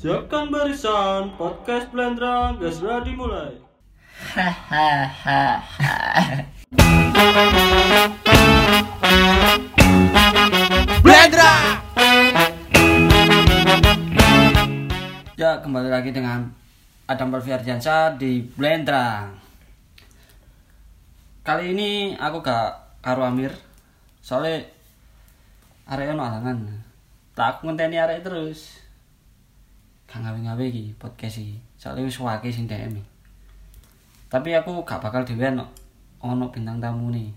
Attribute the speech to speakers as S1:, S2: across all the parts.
S1: Siapkan barisan, podcast Blendrang, gas ready dimulai.
S2: Blendra. Ya kembali lagi dengan Adam Perfiardiansyah di Blendra. Kali ini aku gak karo Amir, soalnya area ono alangan. Tak aku ngenteni arek terus. Gak ngawe-ngawe iki podcast iki. Soalnya wis wake sing DM. iki. Tapi aku gak bakal dhewean no. ono bintang tamu nih.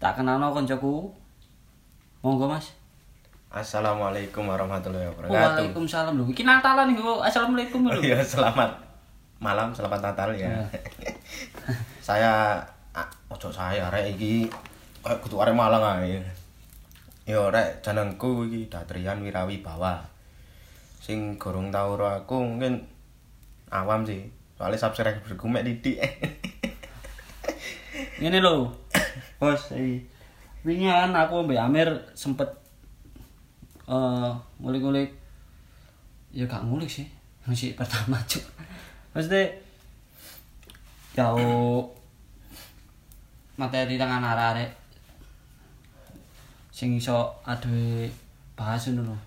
S2: Tak kenalno koncoku. Monggo Mas.
S3: Assalamualaikum warahmatullahi wabarakatuh.
S2: Waalaikumsalam lho. Iki Natalan iki. kok. Assalamualaikum
S3: Oh,
S2: lho.
S3: iya, selamat malam, selamat Natal ya. saya ah, ojo saya rek iki kayak kudu arek Malang ae. Yo rek jenengku iki Datrian Wirawi Bawa. Sing gorong tau ro aku mungkin awam sih. Soalnya subscribe bergumek didik.
S2: Ngene lho. Bos iki. Wingi kan aku mbek Amir sempet eh ngulik-ngulik ya gak ngulik sih. Masih pertama cuk. Maksudnya jauh materi tangan arek-arek sing iso aduh bahas ngono lho.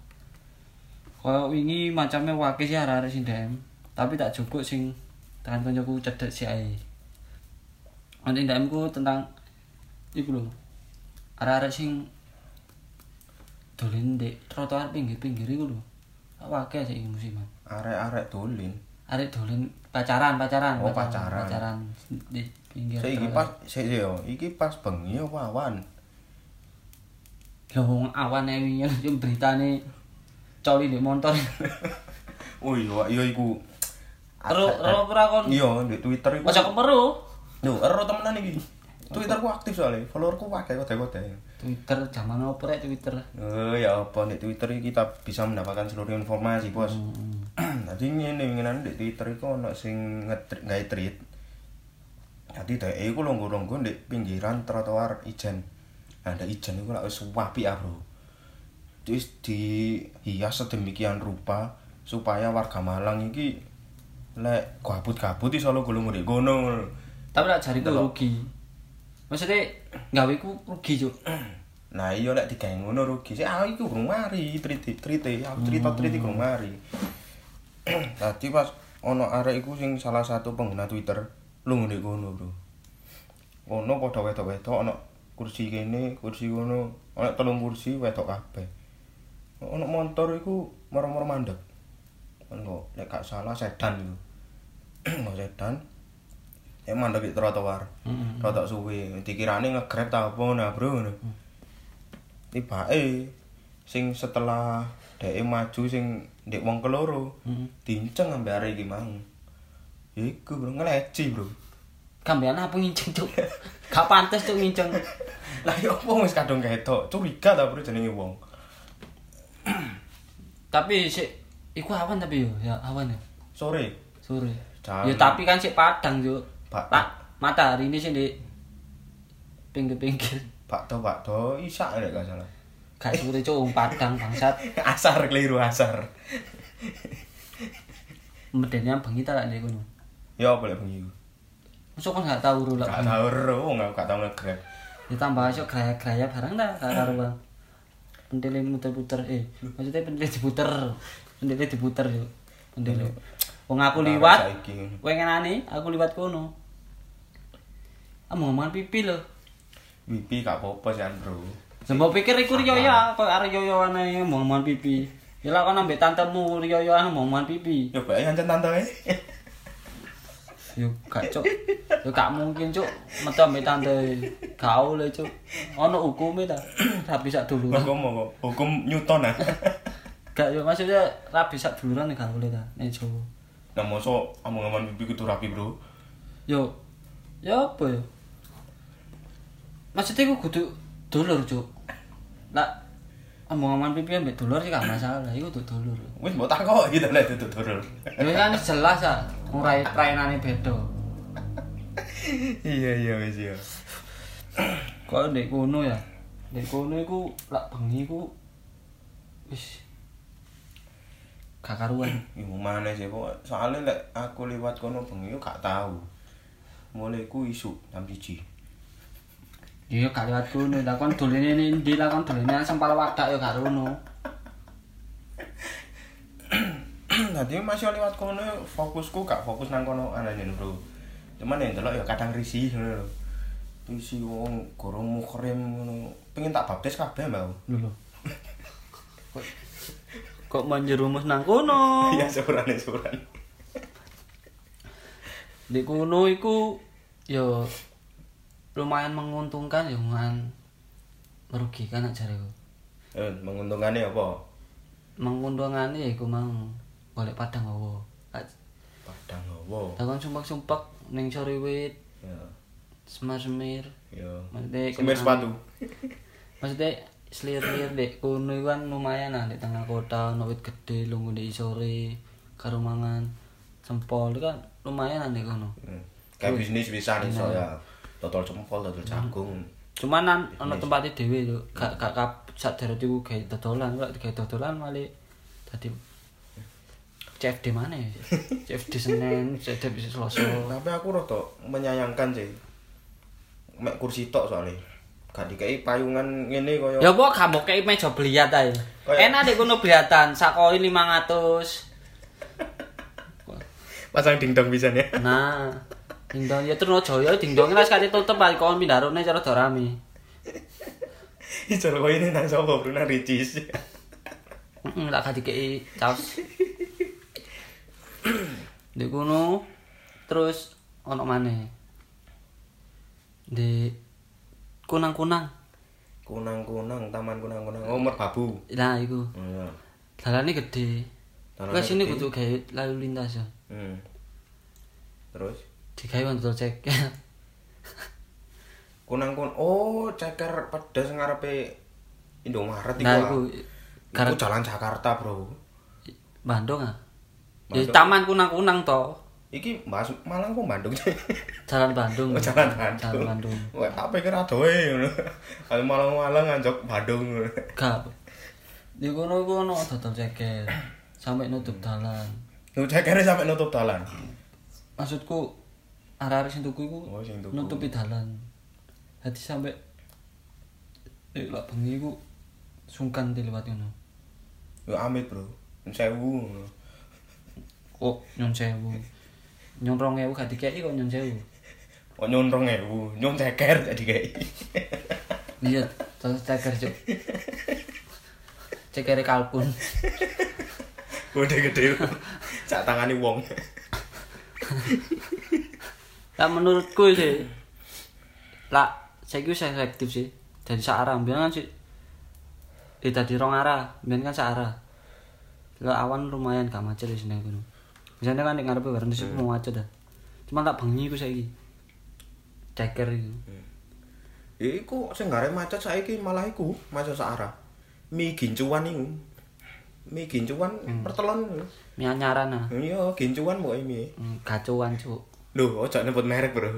S2: Kaya wingi macamnya wakil sih arek-arek sing DM, tapi tak cukup sing tangan kancaku cedek sih ae. Nanti DM ku tentang iku lho. Arek-arek sing dolen ndek trotoar pinggir-pinggir iku lho. Tak wakil sih iki musiman.
S3: Arek-arek dolin.
S2: Arek dolen pacaran, pacaran.
S3: Oh, pacaran.
S2: Pacaran di pinggir.
S3: Saya iki
S2: trotoar.
S3: pas saya yo, iki pas bengi apa awan?
S2: Ya wong awane wingi yo beritane coli ndek motor.
S3: Oh iya, iya iku.
S2: Ero ero ora kon.
S3: Iya, di Twitter iku.
S2: Masa kemeru.
S3: Duh, ero temenan iki. Twitterku aktif soalnya, followerku akeh kode-kode.
S2: Twitter zaman opo rek Twitter.
S3: Eh, ya apa di Twitter iki kita bisa mendapatkan seluruh informasi, Bos. Jadi ngene ngene di Twitter iku ono sing ngetri- nggawe tweet. Jadi dhek iku longgo-longgo di pinggiran trotoar ijen. Nah, ndek ijen iku lak wis apik ah, Bro. Terus dihias sedemikian rupa supaya warga Malang iki lek gabut-gabut iso lo gulung ngene kono.
S2: Tapi lak jariku
S3: Delok.
S2: rugi. Maksudnya gawe ku rugi cuk.
S3: Nah iya lek digawe ngono rugi. Sik aku iku urung mari triti-triti, aku cerita-cerita urung mari. Tadi pas ono arek iku sing salah satu pengguna Twitter lu ngene kono, Bro. Ono padha wedok-wedok ono kursi kene, kursi kono, ono telung kursi wedok kabeh. Ono motor iku moro-moro mandek. Ono lek gak salah sedan iku. Ono sedan. Ya mandek di trotoar. Rotok suwe, dikirane nge-grab ta apa nah, Bro. ngono. tiba eh sing setelah dhek maju sing ndek wong keloro dinceng ambek arek iki mang ya iku bro ngeleci bro
S2: Kambian apa nginceng cuk? Gak pantas cuk nginceng.
S3: lah ya opo wis kadung ketok curiga ta bro jenenge wong
S2: Tapi sik iku awan tapi yo, ya awan ya.
S3: sore
S2: Sore.
S3: Jam-
S2: Ya tapi kan sik padang cuk.
S3: Pak-
S2: Tak matahari ini sih di pinggir-pinggir.
S3: Pak Do Pak Do isak nek gak salah
S2: Gak sore cuk wong padang bangsat.
S3: asar keliru asar
S2: Medenya bengi tak ndek kono.
S3: ya boleh bengi iku?
S2: Masuk kan gak tau rulak.
S3: gak tau ro wong aku gak tau ngegrab
S2: ditambah aja gaya-gaya barang dah gak karuan pendele muter-puter eh maksudnya pendele diputer pendele diputer yuk pendele wong aku
S3: Barang
S2: liwat
S3: saiki.
S2: wengenane aku liwat kono ah mau ngomongan pipi lho
S3: wipi gak apa-apa sih kan, bro
S2: Sembo pikir iku riyoya kok arek riyoyoan ae mau ngomongan pipi ya lah kon ambek tantemu riyoyoan mau ngomongan pipi
S3: coba aja ancen tante eh.
S2: yo gak cuk yo gak mungkin cuk metu ambek tante gak oleh cuk ono hukume ta tapi sak dulu
S3: hukum apa? hukum Newton ah
S2: Gak yo maksudnya rabi sak duluran gak boleh ta nek Jawa.
S3: nah mosok omong-omong wipi kudu rapi bro
S2: Yo. Ya apa yo? Maksudnya iku kudu dulur, Cuk. Lah omongan pipi ambek dulur sih gak masalah, iku kudu dulur.
S3: wis mbok takok gitu lek tutur
S2: Yo kan jelas ah, ora trainane beda.
S3: iya iya wis iya
S2: Kok ndek kono ya? Ndek kono iku lak bengi iku wis gak karuan
S3: Iku mana sih kok soalnya lek aku lewat kono bengi yo gak tahu. Mulai ku isu jam 1.
S2: iya gak lewat kono lah kon dolene ini ndi lah kon dolene sempal wadak ya gak rono
S3: Tadi masih lewat kono fokusku gak fokus nang kono anane bro. Cuman yang delok ya kadang risih ngono lho. Isi wong goro mukrim ngono. Pengen tak baptis kabeh mau.
S2: lho lho. kok kok menjerumus nang kono
S3: Iya surane suran.
S2: di kuno iku yo lumayan menguntungkan yo lumayan merugikan aja aku
S3: Eh, menguntungane apa?
S2: menguntungkan ya iku mau golek padang awo
S3: Padang ngowo.
S2: takon sumpak sumpak neng sore wit
S3: Ya.
S2: semar semir
S3: Ya.
S2: Maksudnya
S3: Semir sepatu.
S2: maksudnya selir selir dek kuno iku kan lumayan lah di tengah kota ono wit gede lungu di sore karo mangan sempol itu kan lumayan lah di kuno
S3: Hmm. Kayak bisnis bisa nih soalnya. Totol cempol, totol jagung.
S2: cuman nan ono tempatnya dhewe lho gak gak kap sak darat iku gawe dodolan lek gawe dodolan malah dadi CFD mana ya CFD Senin CFD bisa Selasa
S3: tapi aku rada menyayangkan sih mek kursi tok soalnya gak dikei payungan ngene kaya
S2: ya apa kamu kayak meja beliat aja
S3: Kayak-
S2: enak deh kuno beliatan sakoi 500
S3: pasang dingdong bisa ya
S2: nah dingdong ya terus joyo dingdongnya lah sekali tutup aja kawan pindah rumahnya cara dorami
S3: ijar koyo ini nang sapa bruna ricis
S2: Mm, tak kasih kei caos di kuno terus ono mana di kunang kunang
S3: kunang-kunang taman kunang-kunang oh merbabu Oh,
S2: nah iku
S3: iya
S2: dalannya gede
S3: Dalannya
S2: Wes sini
S3: gede.
S2: kudu gawe lalu lintas ya
S3: hmm. terus
S2: digawe untuk cek
S3: kunang-kun oh ceker pedes ngarepe Indomaret iku
S2: nah
S3: ah.
S2: iku
S3: Iku
S2: karena
S3: jalan Jakarta bro
S2: Bandung ah ya
S3: Bandung.
S2: taman kunang kunang toh
S3: iki bahas Malang kok Bandung
S2: jalan Bandung
S3: Oh, jalan Bandung.
S2: Hmm. jalan Bandung
S3: Wah, apa pikir adoe ngono. Kalau malang-malang anjok Bandung. ngono.
S2: gak di kuno kuno total ceker sampai nutup dalan
S3: Lu cekere sampai nutup dalan.
S2: maksudku arah-arah sing tuku iku
S3: Oh, sing tuku.
S2: nutupi dalan. Dadi sampe eh lak bengi iku sungkan di lewat ngono.
S3: Yo amit, Bro. Nyun Sewu. ngono.
S2: Oh, nyun sewu. Nyun rong ewu gak dikeki kok nyun sewu.
S3: Oh nyun 2000, nyun ceker jadi kayak.
S2: Iya, terus ceker cuk. Cekere kalkun.
S3: Udah gede. Cak tangani wong.
S2: Lah menurutku sih. Lah saiki wis efektif sih. Dari sak arah mbiyen kan sih eh tadi rong arah, mbiyen kan sak arah. Lah awan lumayan gak macet di sini kono. Misalnya kan nek ngarepe warna sih mau macet dah. Cuma tak bengi iku saiki. Ceker iku.
S3: Ya iku sing gare macet saiki malah iku, macet searah. Mi gincuan iku. Mi gincuan pertelon. ngono.
S2: Mianyaran ah.
S3: Iya, gincuan pokoke mi.
S2: Hmm, Gacuan cuk.
S3: Loh, ojo nyebut merek, Bro.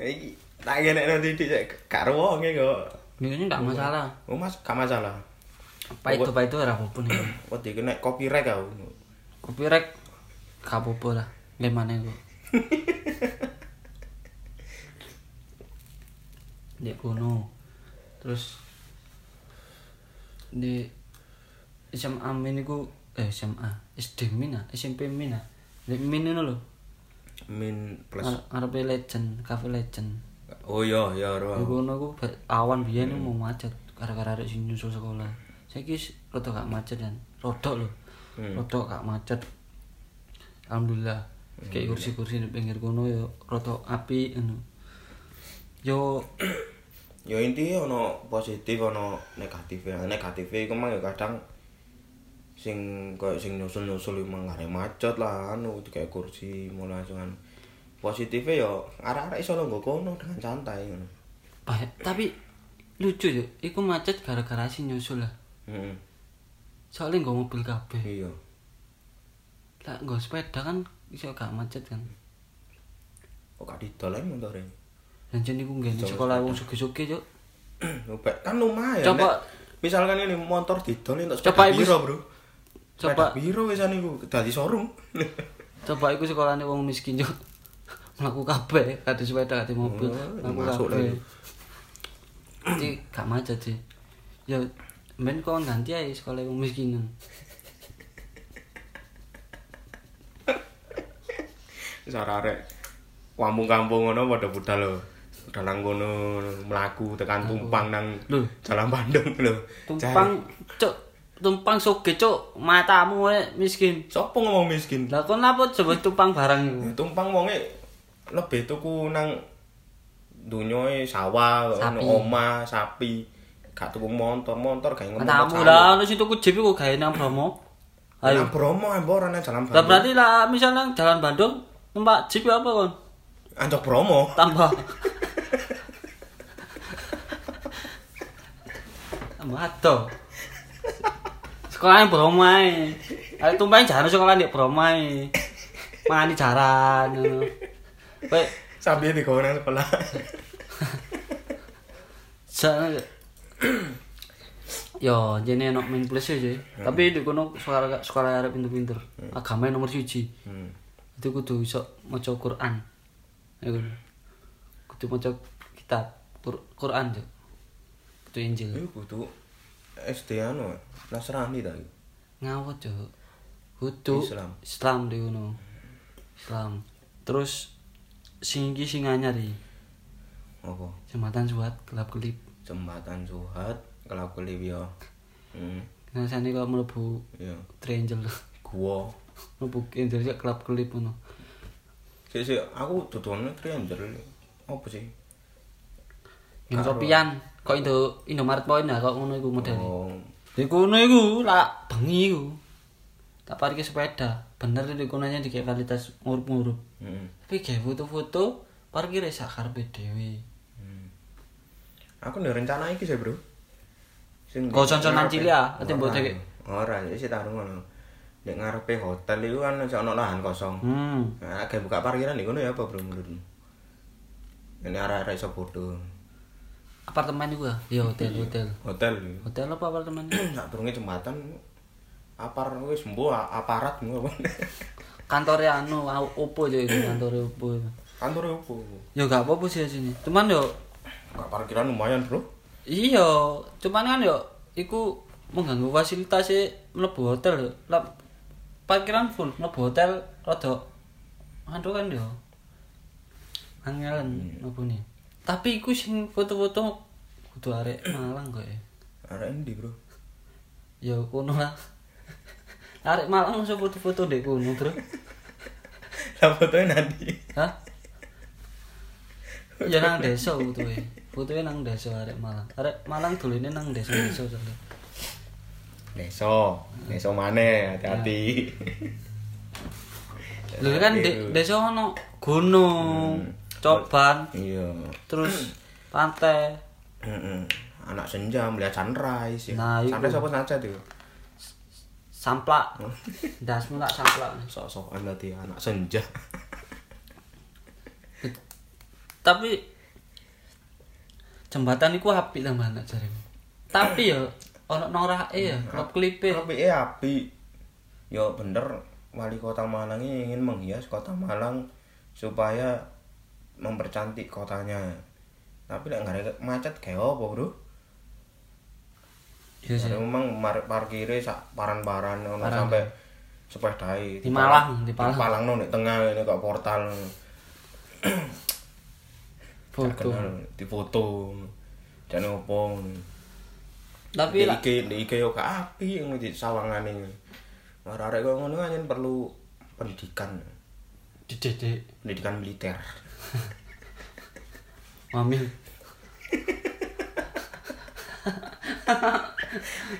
S3: Iki tak ngene nanti dicek karo wonge kok.
S2: Ini gak masalah.
S3: Oh mas, gak masalah.
S2: Apa itu apa itu ora apa-apa nih.
S3: Wah dia kena copyright kau.
S2: Kopi rek gak apa-apa lah. Lemane iku. di kuno terus di SMA min iku eh SMA SD min ah SMP min ah di min ngono lho
S3: Min plus.
S2: Are- arepe legend cafe legend
S3: Oh iya iya
S2: di
S3: roh.
S2: kuno ku ba- awan biyen ku mau macet gara-gara arek sing nyusul sekolah saiki wis rada gak macet kan rodok lho rodok gak macet alhamdulillah kayak kursi-kursi di pinggir kuno yo rodok api ngono yo
S3: Ya intinya ono positif ono negatif ya. Negatif iku mang ya kadang sing kayak sing nyusul-nyusul emang gak ada macet lah anu kayak kursi mulai langsung positifnya ya arah-arah iso lo kono dengan santai ngono.
S2: Bah- tapi lucu yo iku macet gara-gara si nyusul lah
S3: Heeh.
S2: soalnya nggak mobil kabeh
S3: Iya.
S2: lah nggak sepeda kan iso gak macet kan
S3: Kok gak didolain motore?
S2: dan jadi gue nggak sekolah wong suge-suge yo
S3: Lho, Pak, kan lumayan.
S2: Coba-
S3: Nek, misalkan ini motor didol untuk
S2: Coba
S3: sepeda
S2: ibu-
S3: piro, Bro?
S2: Coba-
S3: Pedak biro wisan iku dadi showroom.
S2: Coba iku sekolahane wong miskin yo. Mlaku kabeh, kate sepeda, kate mobil.
S3: Oh,
S2: mlaku
S3: masuk
S2: kabeh.
S3: lagi.
S2: Jadi gak macet sih. Ya men kon ganti ae sekolah wong miskinan.
S3: Wis ora arek. Kampung-kampung ngono padha budal lho. Udah nang kono mlaku tekan tumpang nang
S2: Lho.
S3: Jalan Bandung lho.
S2: Tumpang cuk, tumpang soge cuk, matamu wae miskin.
S3: Sopo ngomong miskin?
S2: Lah kon lapo coba tumpang barang iku?
S3: Tumpang wonge lebih tuku nang dunyoe sawah,
S2: Sapi.
S3: ono omah, sapi. Gak tuku montor, montor gak ngomong.
S2: Matamu lah, ono sing tuku jeep iku gawe nang Bromo.
S3: Ayo.
S2: Ayo.
S3: Nang Bromo embor ana Jalan
S2: Lah
S3: Bandung.
S2: berarti lah misal nang jalan Bandung numpak jeep apa kon?
S3: Anjok Bromo.
S2: Tambah. Tambah ado. Sekolahnya Bromo ae. Ayo tumpahin jaran sekolah ndek Bromo ae. Mangani jaran ngono. Kowe
S3: Sapi di nang sekolah.
S2: Soalnya Yo, jadi enak main plus aja. Tapi di kono sekolah sekolah Arab pinter-pinter. Agama nomor siji.
S3: Hmm.
S2: Itu kudu iso maca Quran. Ya kan? Kudu maca kitab Qur- Quran yo. Kudu Injil.
S3: Iku kudu SD anu, Nasrani ta iki.
S2: Ngawut yo. Kudu
S3: Islam.
S2: Islam di kono. Islam. Terus sing iki sing anyar iki.
S3: Apa?
S2: Jembatan Suat kelap-kelip.
S3: Jembatan Suhat, kelap kelip ya. Hmm,
S2: Ngasane kok mlebu
S3: ya.
S2: Trenjel.
S3: Gua.
S2: Nopo Indonesia kelap kelip ngono.
S3: Sik sik aku dodone trianjer. Apa sih?
S2: Yang kopian kok Indo Indomaret Point lah kok ngono iku modele.
S3: Oh,
S2: Iku ngono iku lak bengi iku. Tak parkir sepeda, bener itu gunanya di kualitas ngurup-ngurup.
S3: hmm.
S2: Tapi gawe foto-foto parkir sak karepe dhewe.
S3: Aku ndek rencana iki sih, Bro. Sing
S2: Kau conconan cilik ya, nanti mbok
S3: Ora.
S2: cekik.
S3: Ora, sik tak ngono. Nek ngarepe hotel iku kan ono lahan kosong.
S2: Hmm.
S3: Nah, kayak buka parkiran di kono ya apa bro menurutmu? Ini arah-arah iso bodoh.
S2: Apartemen iku ya? Ya hotel, hotel.
S3: Hotel.
S2: Hotel apa apartemen?
S3: Nak turunnya jembatan apar wis mbo aparat ngono.
S2: Kantore anu au- Oppo aja itu kantore Oppo. itu.
S3: Kantor opo?
S2: Ya gak apa-apa sih sini. Cuman yo
S3: Buka parkiran lumayan, Bro.
S2: Iya, cuman kan yo iku mengganggu fasilitas e mlebu hotel yo. Lah parkiran full mlebu hotel rada anu kan yo. Angelen mlebune. Tapi iku sing foto-foto kudu arek Malang kok ya.
S3: Arah ini, Bro.
S2: Ya kono lah. Arek Malang iso foto-foto ndek kono, Bro.
S3: Lah fotonya nanti.
S2: Hah? Ya nang desa butuhe. Butuhe nang desa arek Malang. Arek Malang dolene nang desa-desa soalnya.
S3: Neso, neso mana? Hati-hati.
S2: Lho kan de desa ono gunung, coban,
S3: Iya.
S2: terus pantai.
S3: Heeh. Anak senja melihat sunrise ya.
S2: Nah, iku.
S3: sunrise apa sunset itu?
S2: Samplak. Dasmu tak samplak.
S3: Sok-sokan tadi anak senja.
S2: Tapi jembatan iku apik tambahan tak jaremu. Tapi ya ono norake ya,
S3: Hmm.
S2: klop klipe.
S3: Tapi eh api. Ya bener wali kota Malang ini ingin menghias kota Malang supaya mempercantik kotanya. Tapi lek nggak ada macet kayak apa, Bro?
S2: Iya sih.
S3: Jadi memang mar- parkire sak paran-paran ono sampai sepedai
S2: Di Malang, di Malang.
S3: Palangno nek tengah ini kok portal Gak
S2: Foto.
S3: kenal, di foto dan opo
S2: Tapi
S3: di
S2: lah
S3: IG di IG yo gak api yang di sawangane arek kok ngono kan yen perlu pendidikan
S2: didedek
S3: pendidikan militer
S2: mami.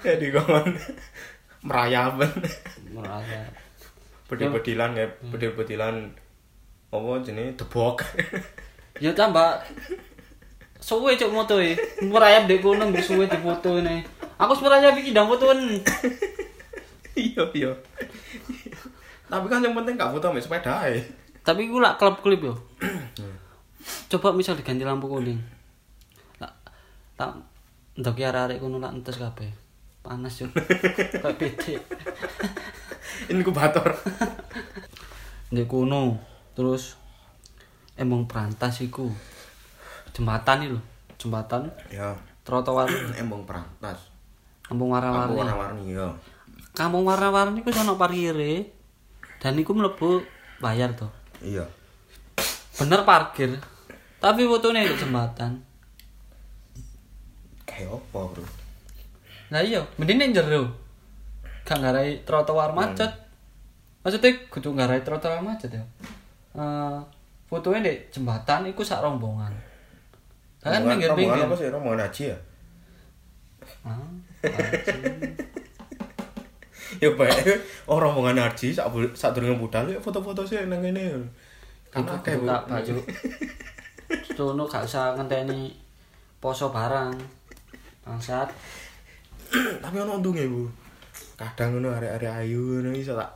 S3: jadi kon merayap
S2: Merasa.
S3: bedil-bedilan ya
S2: Hmm.
S3: bedil-bedilan apa jenenge debok
S2: Ya tambah suwe cuk moto e. Merayap dek kono mbok suwe dipotone. Aku semerayap iki ndang fotoen.
S3: iya iya tapi kan yang penting gak foto sama sepeda ae.
S2: Tapi gue lah klub klip yo. Coba misal diganti lampu kuning. Tak tak ndok arek-arek kono lak entes kabeh. panas yuk kayak pitik
S3: inkubator
S2: di kuno terus emang perantas iku jembatan itu jembatan
S3: ya
S2: trotoar
S3: embong perantas
S2: kampung
S3: aku
S2: warna-warni
S3: warna-warni ya
S2: kampung warna-warni ku sono parkire dan iku mlebu bayar to
S3: iya
S2: bener parkir tapi fotone itu jembatan
S3: kayak apa bro
S2: Lah iya, mending ning jero. Gak ngarai trotoar
S3: Hmm.
S2: macet. Maksudnya kudu ngarai trotoar macet ya. Eh, fotonya di jembatan iku sak rombongan. Lah Kan
S3: Rombongan- rombongan
S2: pinggir-pinggir.
S3: apa sih rombongan haji ya
S2: Ah,
S3: ya baik oh rombongan haji sak bul- sak durunge budal ya foto-foto sih nang kene kan
S2: Iku
S3: akeh
S2: kudu
S3: bu
S2: tak baju. Stono gak usah ngenteni poso barang. Bangsat.
S3: tapi ono untunge bu kadang ngono arek-arek ayu ngono iso tak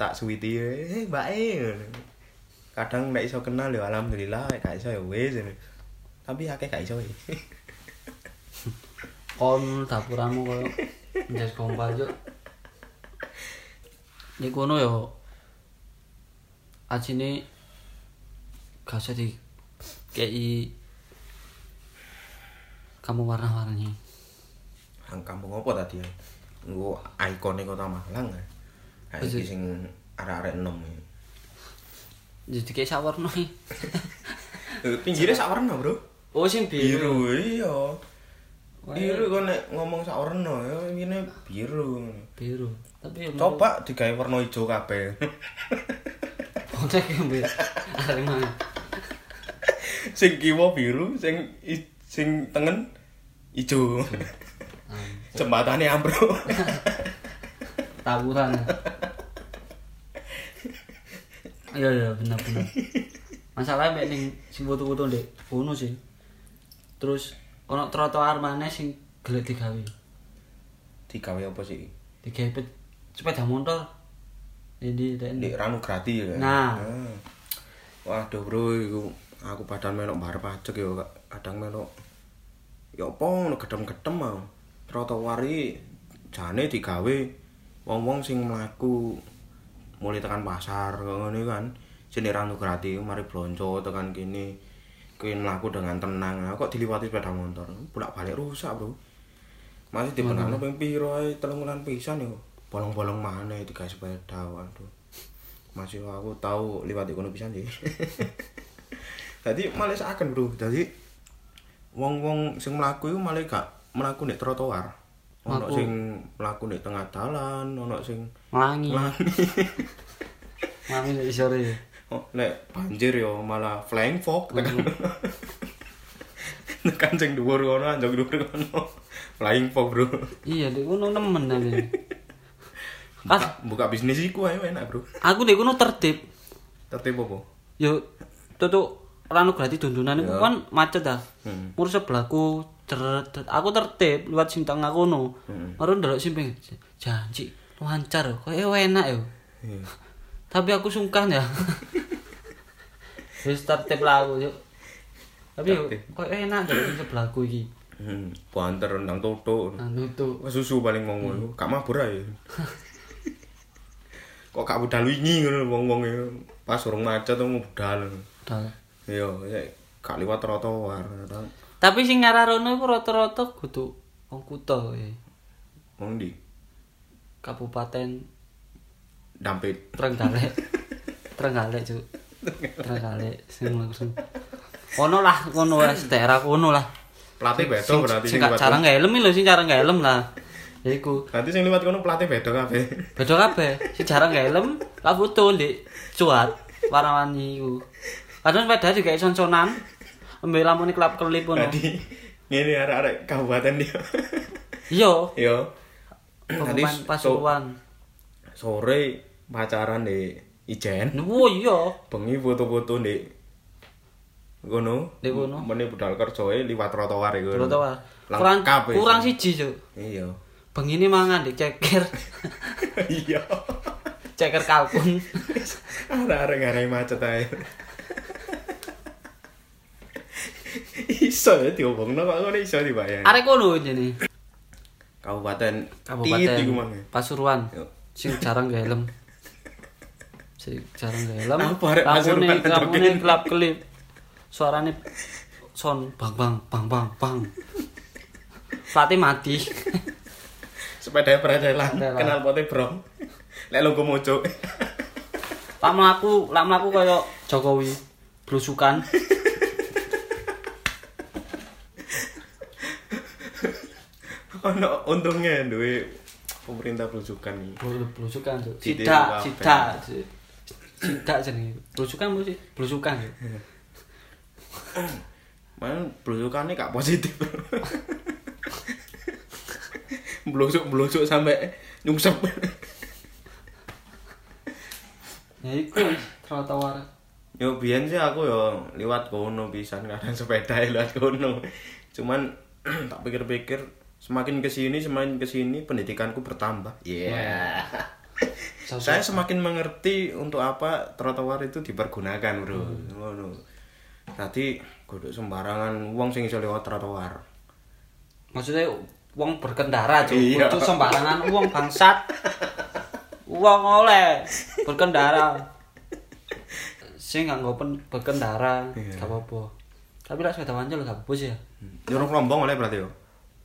S3: tak suwiti eh mbak e ngono. kadang nek iso kenal ya alhamdulillah nek gak iso ya wis ngono. tapi akeh gak iso eh.
S2: Kon dapuramu koyo njas gompal yo. Nek kono yo ajine gak usah di kei kamu warna-warni.
S3: Ang kampung apa tadi ya? Nggo ikone Kota Malang. ya. Ha
S2: Apa
S3: iki
S2: sih?
S3: sing arek-arek enom. ya.
S2: Jadi kayak sawarno iki.
S3: Eh, Pinggirnya sak warna, Bro.
S2: Oh sing biru.
S3: Biru iya. Biru kok nek ngomong sak warna ya ini biru.
S2: Biru. Tapi yo
S3: Coba digawe warna ijo kabeh.
S2: kontak yo mbek. Areng mangan.
S3: sing kiwa biru, sing i- sing tengen ijo. Hmm. Jembatane ambruk.
S2: tawuran iya iya benar benar masalahnya mek ning sing foto-foto ndek kono sih terus ono trotoar maneh sing gelek digawe
S3: Digawe apa sih?
S2: digawe pe- sepeda motor ini
S3: Ndek
S2: ini
S3: Ranu Grati ya.
S2: Nah.
S3: Ah. Waduh, Bro, iku aku padahal melok bar pacek ya, Kak. Kadang melok ya apa ngono gedem-gedem mau. Trotoar iki jane digawe wong-wong sing mlaku mulai tekan pasar kok ngene kan. Jenenge Ranu Grati mari blonco tekan kene. Kuwi mlaku dengan tenang. Lah, Kok diliwati sepeda motor? Bolak-balik rusak, Bro. Masih dibenakno ping piro ae telung wulan pisan yo. Bolong-bolong maneh digawe sepeda, waduh. Masih aku tahu liwat kono pisan sih. Dadi malah saken, Bro. Dadi wong-wong sing mlaku iku malah gak mlaku nek trotoar. Ono
S2: Mlaku.
S3: sing mlaku nek tengah dalan, ono sing
S2: wangi
S3: Wangi.
S2: wangi nek sore
S3: Oh, nek banjir yo malah flying fog tekan. tekan sing dhuwur kono, anjog dhuwur kono. Flying fog, Bro.
S2: iya di kono nemen tapi Pas.
S3: Buka, buka bisnis iku ae enak, Bro.
S2: aku di kono tertib
S3: Tertib apa?
S2: yo tutup ranu gratis dundunan itu kan macet dah hmm. mur sebelahku ceret ceret. aku tertib lewat sing tengah kono baru ndelok sing pengen "J- janji lancar kok enak yo
S3: Iya.
S2: tapi aku sungkan ya wis tertib lah aku yo tapi yo kok enak dari sing sebelahku iki
S3: Hmm, banter rendang toto.
S2: nah nutup
S3: Wah, Susu paling wong ngono. Gak mabur ae. Kok gak budal wingi ngono wong-wong iku. Pas urung macet wong budal.
S2: Dal.
S3: Yo, gak liwat trotoar. kadang.
S2: tapi sing ngarah rono iku rata-rata kudu wong kutho ya.
S3: Wong ndi?
S2: kabupaten
S3: Dampit.
S2: Trenggalek. Trenggalek, Cuk. Trenggalek sing langsung. Ono lah kono wes daerah kono lah.
S3: Pelatih beda
S2: Sing-
S3: berarti
S2: sing
S3: sing
S2: gak
S3: liwat.
S2: jarang gak helm lho sing jarang gak helm lah. Ya iku.
S3: Berarti sing liwat kono pelatih beda kabeh.
S2: Beda kabeh. Sing jarang gak helm, gak foto ndek cuat warna-warni iku. Kadang sepeda juga sonconan. Ambil lamune kelap kelip ngono.
S3: Tadi ngene arek-arek kabupaten dia.
S2: Iya.
S3: Yo. Tadi
S2: Pemain
S3: so-
S2: Pasuruan.
S3: sore pacaran di Ijen.
S2: Nuwo iya.
S3: bengi foto-foto ndek ngono
S2: Ndek kono.
S3: mene budal kerjae liwat trotoar iku
S2: Trotoar. Kurang
S3: lengkap ya.
S2: kurang siji, Cuk.
S3: iya
S2: Bengine mangan ndek ceker.
S3: iya
S2: ceker kalkun.
S3: arek-arek ngarai macet ae iso ya diomongno kok ngene iso dibayar
S2: Arek kono jene.
S3: Kabupaten Tit iku mang. e.
S2: Kabupaten Pasuruan.
S3: Yo.
S2: Sing jarang gak helm. Sing jarang gak helm.
S3: Apa arek
S2: Lakune
S3: Pasuruan
S2: lakune
S3: joget?
S2: kelap kelip. Suarane son bang bang bang bang bang. Pelatih mati.
S3: Sepeda peredelan,
S2: Peredelan.
S3: kenal pote bro. Lek logo mojo.
S2: Lak mlaku, lak mlaku kaya Jokowi blusukan.
S3: Ono untungnya duwe pemerintah belusukan iki.
S2: Blu- Blusukan. Cuk.
S3: Ditiru
S2: Sidak,
S3: kabeh.
S2: sidak. Cuk. Sidak jenenge. Blusukan mesti blusukan. Cuk.
S3: Mana blusukane gak positif. Blusuk-blusuk sampai nyungsep.
S2: Ya iku trotoar.
S3: Yo biyen sih aku yo liwat kono pisan kadang sepeda ya liwat kono. Cuman tak pikir-pikir semakin kesini semakin kesini pendidikanku bertambah. Iya. Saya semakin mengerti untuk apa trotoar itu dipergunakan, Bro. Ngono. Tadi kudu sembarangan wong sing iso lewat trotoar.
S2: maksudnya wong berkendara cuy
S3: Iya.
S2: itu sembarangan wong bangsat wong oleh berkendara sing nganggo pen berkendara
S3: Iya.
S2: gak apa-apa tapi lek sepeda wancul gak apa-apa sih ya
S3: Nyuruh rombong oleh berarti Hmm. yo.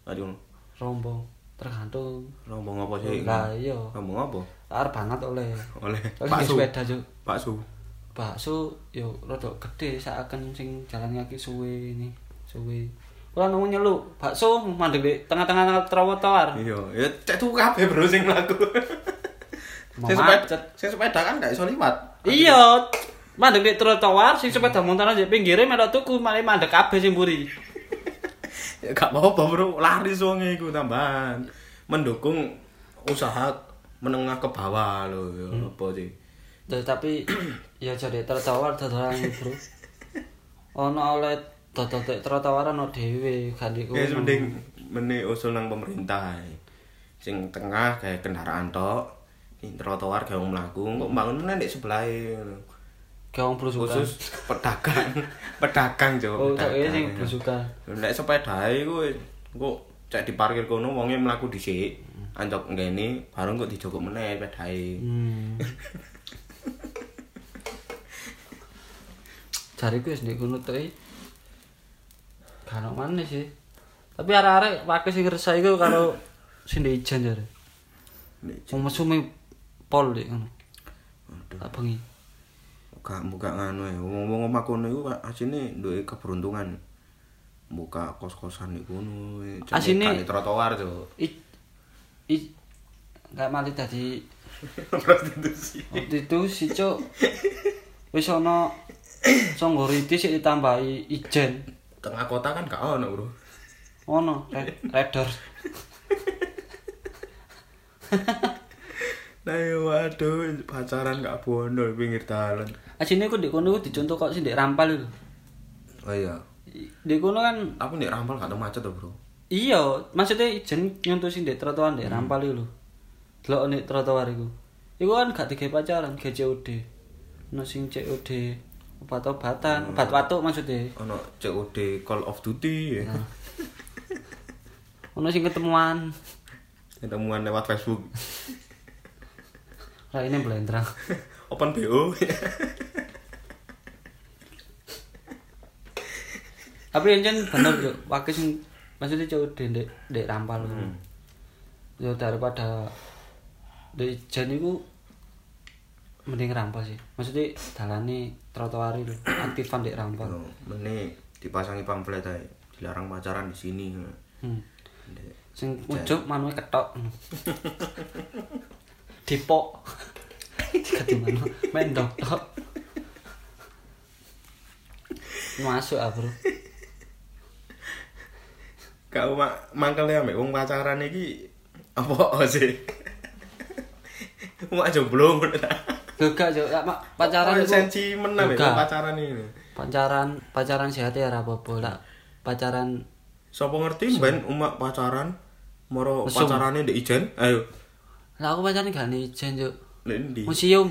S3: Tadi ngono.
S2: rombong tergantung
S3: rombong apa sih?
S2: Lah, iya.
S3: Rombong apa?
S2: lar banget oleh
S3: Oleh
S2: Tapi
S3: Pak
S2: dia
S3: Su.
S2: sepeda cuy
S3: Pak Su.
S2: bakso yo rodok gede seakan sing jalan kaki suwe ini suwe Kula nemu nyeluk bakso mandek di tengah-tengah trotoar.
S3: Iya, ya cek tuh kabeh bro sing mlaku.
S2: Mau
S3: Sing sepeda,
S2: macet.
S3: sing sepeda kan gak iso liwat.
S2: Iya. Mandek di trotoar sing sepeda montoran di pinggire melok tuku malah mandek kabeh sing mburi.
S3: Ya gak apa-apa bro, laris wonge iku tambahan. Mendukung usaha menengah ke bawah lho, ya
S2: Hmm.
S3: apa sih?
S2: Terus tapi ya jadi trotoar dodolan bro. Ono oleh dodol di trotoar ono dhewe gak diku.
S3: Ya mending mene usul nang pemerintah. ae. Sing tengah kayak kendaraan tok, di trotoar gawe mlaku, kok bangun meneh nek sebelahe ngono.
S2: Gawang blusukan.
S3: khusus pedagang pedagang cok
S2: Oh, tak iya sing
S3: Pedagang.
S2: blusukan.
S3: nek sepeda iku kok cek diparkir kono wonge mlaku dhisik anjok ngene bareng kok dijogok meneh pedae
S2: Hmm. Jariku wis ndek kono tok e. Gak ono maneh sih. Tapi arek-arek pakai sing resah iku karo sing ndek ijen jare. Wong mesume pol dek ngono. Tak bengi.
S3: buka buka nganu ya wong-wong omah kono iku ka- asine duwe keberuntungan buka kos-kosan di kono eh, cek
S2: Asine-
S3: buka di trotoar cok
S2: I i gak mati dadi
S3: prostitusi
S2: waktu itu si cuk wis ono songgoriti sik ditambahi ijen.
S3: tengah kota kan gak ono bro
S2: Ono red, redor.
S3: nah ya waduh pacaran gak bono di pinggir dalan
S2: Asine ku ndek kono ku dicontoh kok sing ndek rampal lho.
S3: oh iya
S2: Ndek kono kan
S3: tapi nek rampal gak tau macet tuh bro
S2: Iya, maksudnya ijen nyontoh sing ndek trotoar ndek rampal iku lho. Delok ndek trotoar iku. Iku kan gak digawe pacaran, gawe COD. Ono sing COD obat-obatan, obat watuk maksudnya.
S3: ono COD Call of Duty ya.
S2: Ono sing ketemuan.
S3: ketemuan lewat Facebook
S2: Lah ini blendrang.
S3: open BO
S2: Tapi ijen bener yo, pakai sing maksudnya COD ndek ndek rampal iku. Yo daripada ndek ijen iku mending rampal sih. Maksudnya dalane trotoar lho, aktifan ndek rampal.
S3: Ono, mene dipasangi pamflet ae dilarang pacaran di sini
S2: Hmm.
S3: Ndek.
S2: sing ujug manuke ketok dipok dikati manu mendok tok masuk ah bro
S3: kau mak mangkel ya wong pacaran iki apa sih mak jomblo ngono ta.
S2: Lho gak yo lak mak- pacaran
S3: Apa
S2: iku-
S3: sensi menang ya
S2: Gak.
S3: wong pacaran ini
S2: pacaran pacaran sehat ya ora apa-apa lak pacaran
S3: sapa ngerti ben umak pacaran moro
S2: Mesum.
S3: pacarane ndek ijen ayo
S2: lah aku pacaran gak nih ijen yo
S3: ndek ndi
S2: museum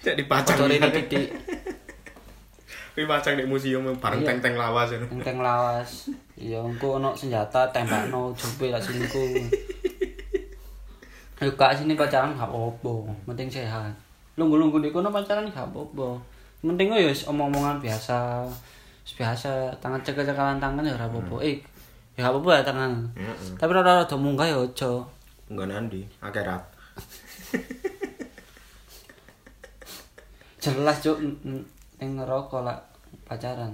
S3: cek dipacang
S2: Bocor ini titik
S3: Kuwi pacang di museum bareng
S2: Iya.
S3: teng-teng lawas ngono.
S2: enteng lawas Iya, engko ono senjata tembakno jope lak selingkuh. Ayo kak sini pacaran gak apa-apa, penting sehat. Lunggu-lunggu di kono pacaran gak apa-apa. Penting yo wis omong-omongan biasa. Wis biasa tangan cekel-cekelan tangan ya ora apa-apa. Eh, ya gak apa-apa ya tangan.
S3: Heeh.
S2: Tapi ora rada munggah ya aja.
S3: Enggak nandi, akhirat.
S2: Jelas cuk n- n- ning neraka lak pacaran.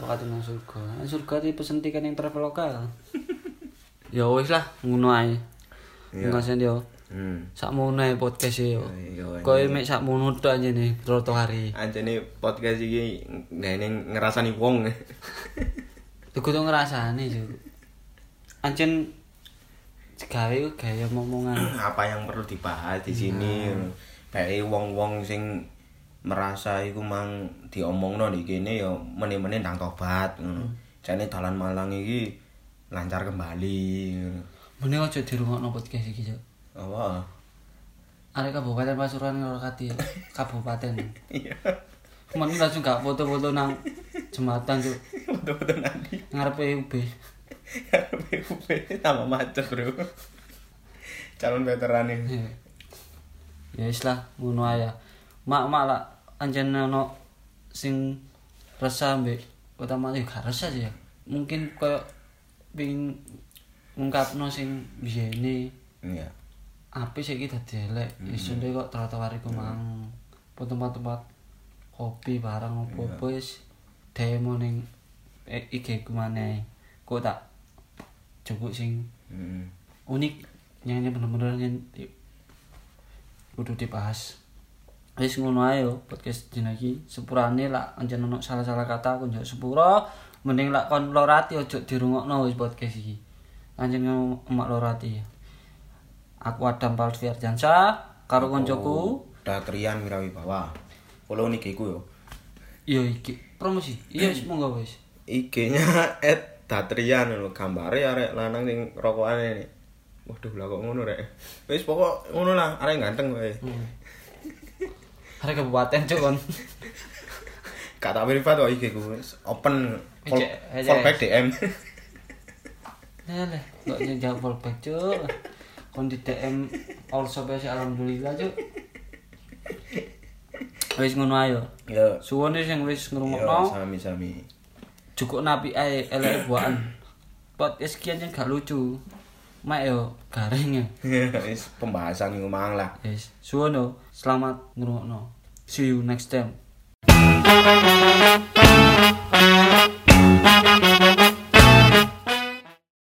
S2: Waktu nang surga. Nang Surga di pesentikan yang traveloka. ya wis lah, ngono ae.
S3: Iya.
S2: Ngono yo.
S3: Hmm.
S2: sakmono ae podcast e, yo.
S3: Iya, iya.
S2: Koe mek sakmono tok anjene troto hari.
S3: Anjene podcast iki nene ngrasani wong.
S2: Iku tuh ngrasani yo. Anjen gawe ku gaya omongan.
S3: Apa yang perlu dibahas di sini? Kayak wong-wong sing merasa iku mang diomongno di kene ya meneh-meneh nang tobat ngono. Jane dalan Malang iki lancar kembali. ngono.
S2: Mene aja dirungokno podcast iki yo.
S3: Apa?
S2: Arek Kabupaten Pasuruan Ngorokati yo. Kabupaten.
S3: Iya.
S2: Kemarin langsung gak foto-foto nang jembatan yo.
S3: Betul-betul nanti.
S2: Ngarepe UB.
S3: PUP tambah macet, Bro. Calon veteran nih.
S2: Iya. Ya wis lah ngono ae. ya. Mak-mak lah anjen ono sing resah mbek utama yo gak resah sih ya. Mungkin koyo pengin ngungkapno sing e. biyene
S3: Iya.
S2: apik saiki dadi elek. Ya sunde kok trotoar iku mang. Apa tempat-tempat kopi barang opo-opo wis demo ning eh, IG ku maneh. Kok tak cukup sing
S3: Hmm.
S2: unik yang ini bener-bener yang di- kudu dibahas wis ngono ae yo podcast dina iki sepurane lak anjen ono salah-salah kata aku njok sepura mending lak kon lorati ojo dirungokno wis podcast iki anjen ngomong emak lorati aku Adam Palfiar Jansa karo
S3: Oh.
S2: koncoku
S3: Datrian Mirawibawa. Follow IG ku yo.
S2: yo iki promosi iya wis monggo wis
S3: IG-nya @datrian lho gambare arek lanang sing rokokane. Waduh lah kok ngono rek. Wis pokok ngono lah arek ganteng kowe.
S2: Hmm. Hari kabupaten cuk kon.
S3: Kata privat kok IG ku wis open Call-
S2: Ejek, ejek.
S3: callback DM.
S2: Lele, kok nyejak fallback cuk. Kon di DM also besi alhamdulillah cuk. Wis ngono ayo.
S3: Yo.
S2: Suwone sing wis
S3: Yo
S2: ngrungokno,
S3: sami-sami.
S2: cukup napi ae eleke buakan. Podcast kian yang gak lucu. Mak yo garing ya.
S3: Wis pembahasan iku mang lah.
S2: Yes, suwono, selamat ngrungokno. See you next time.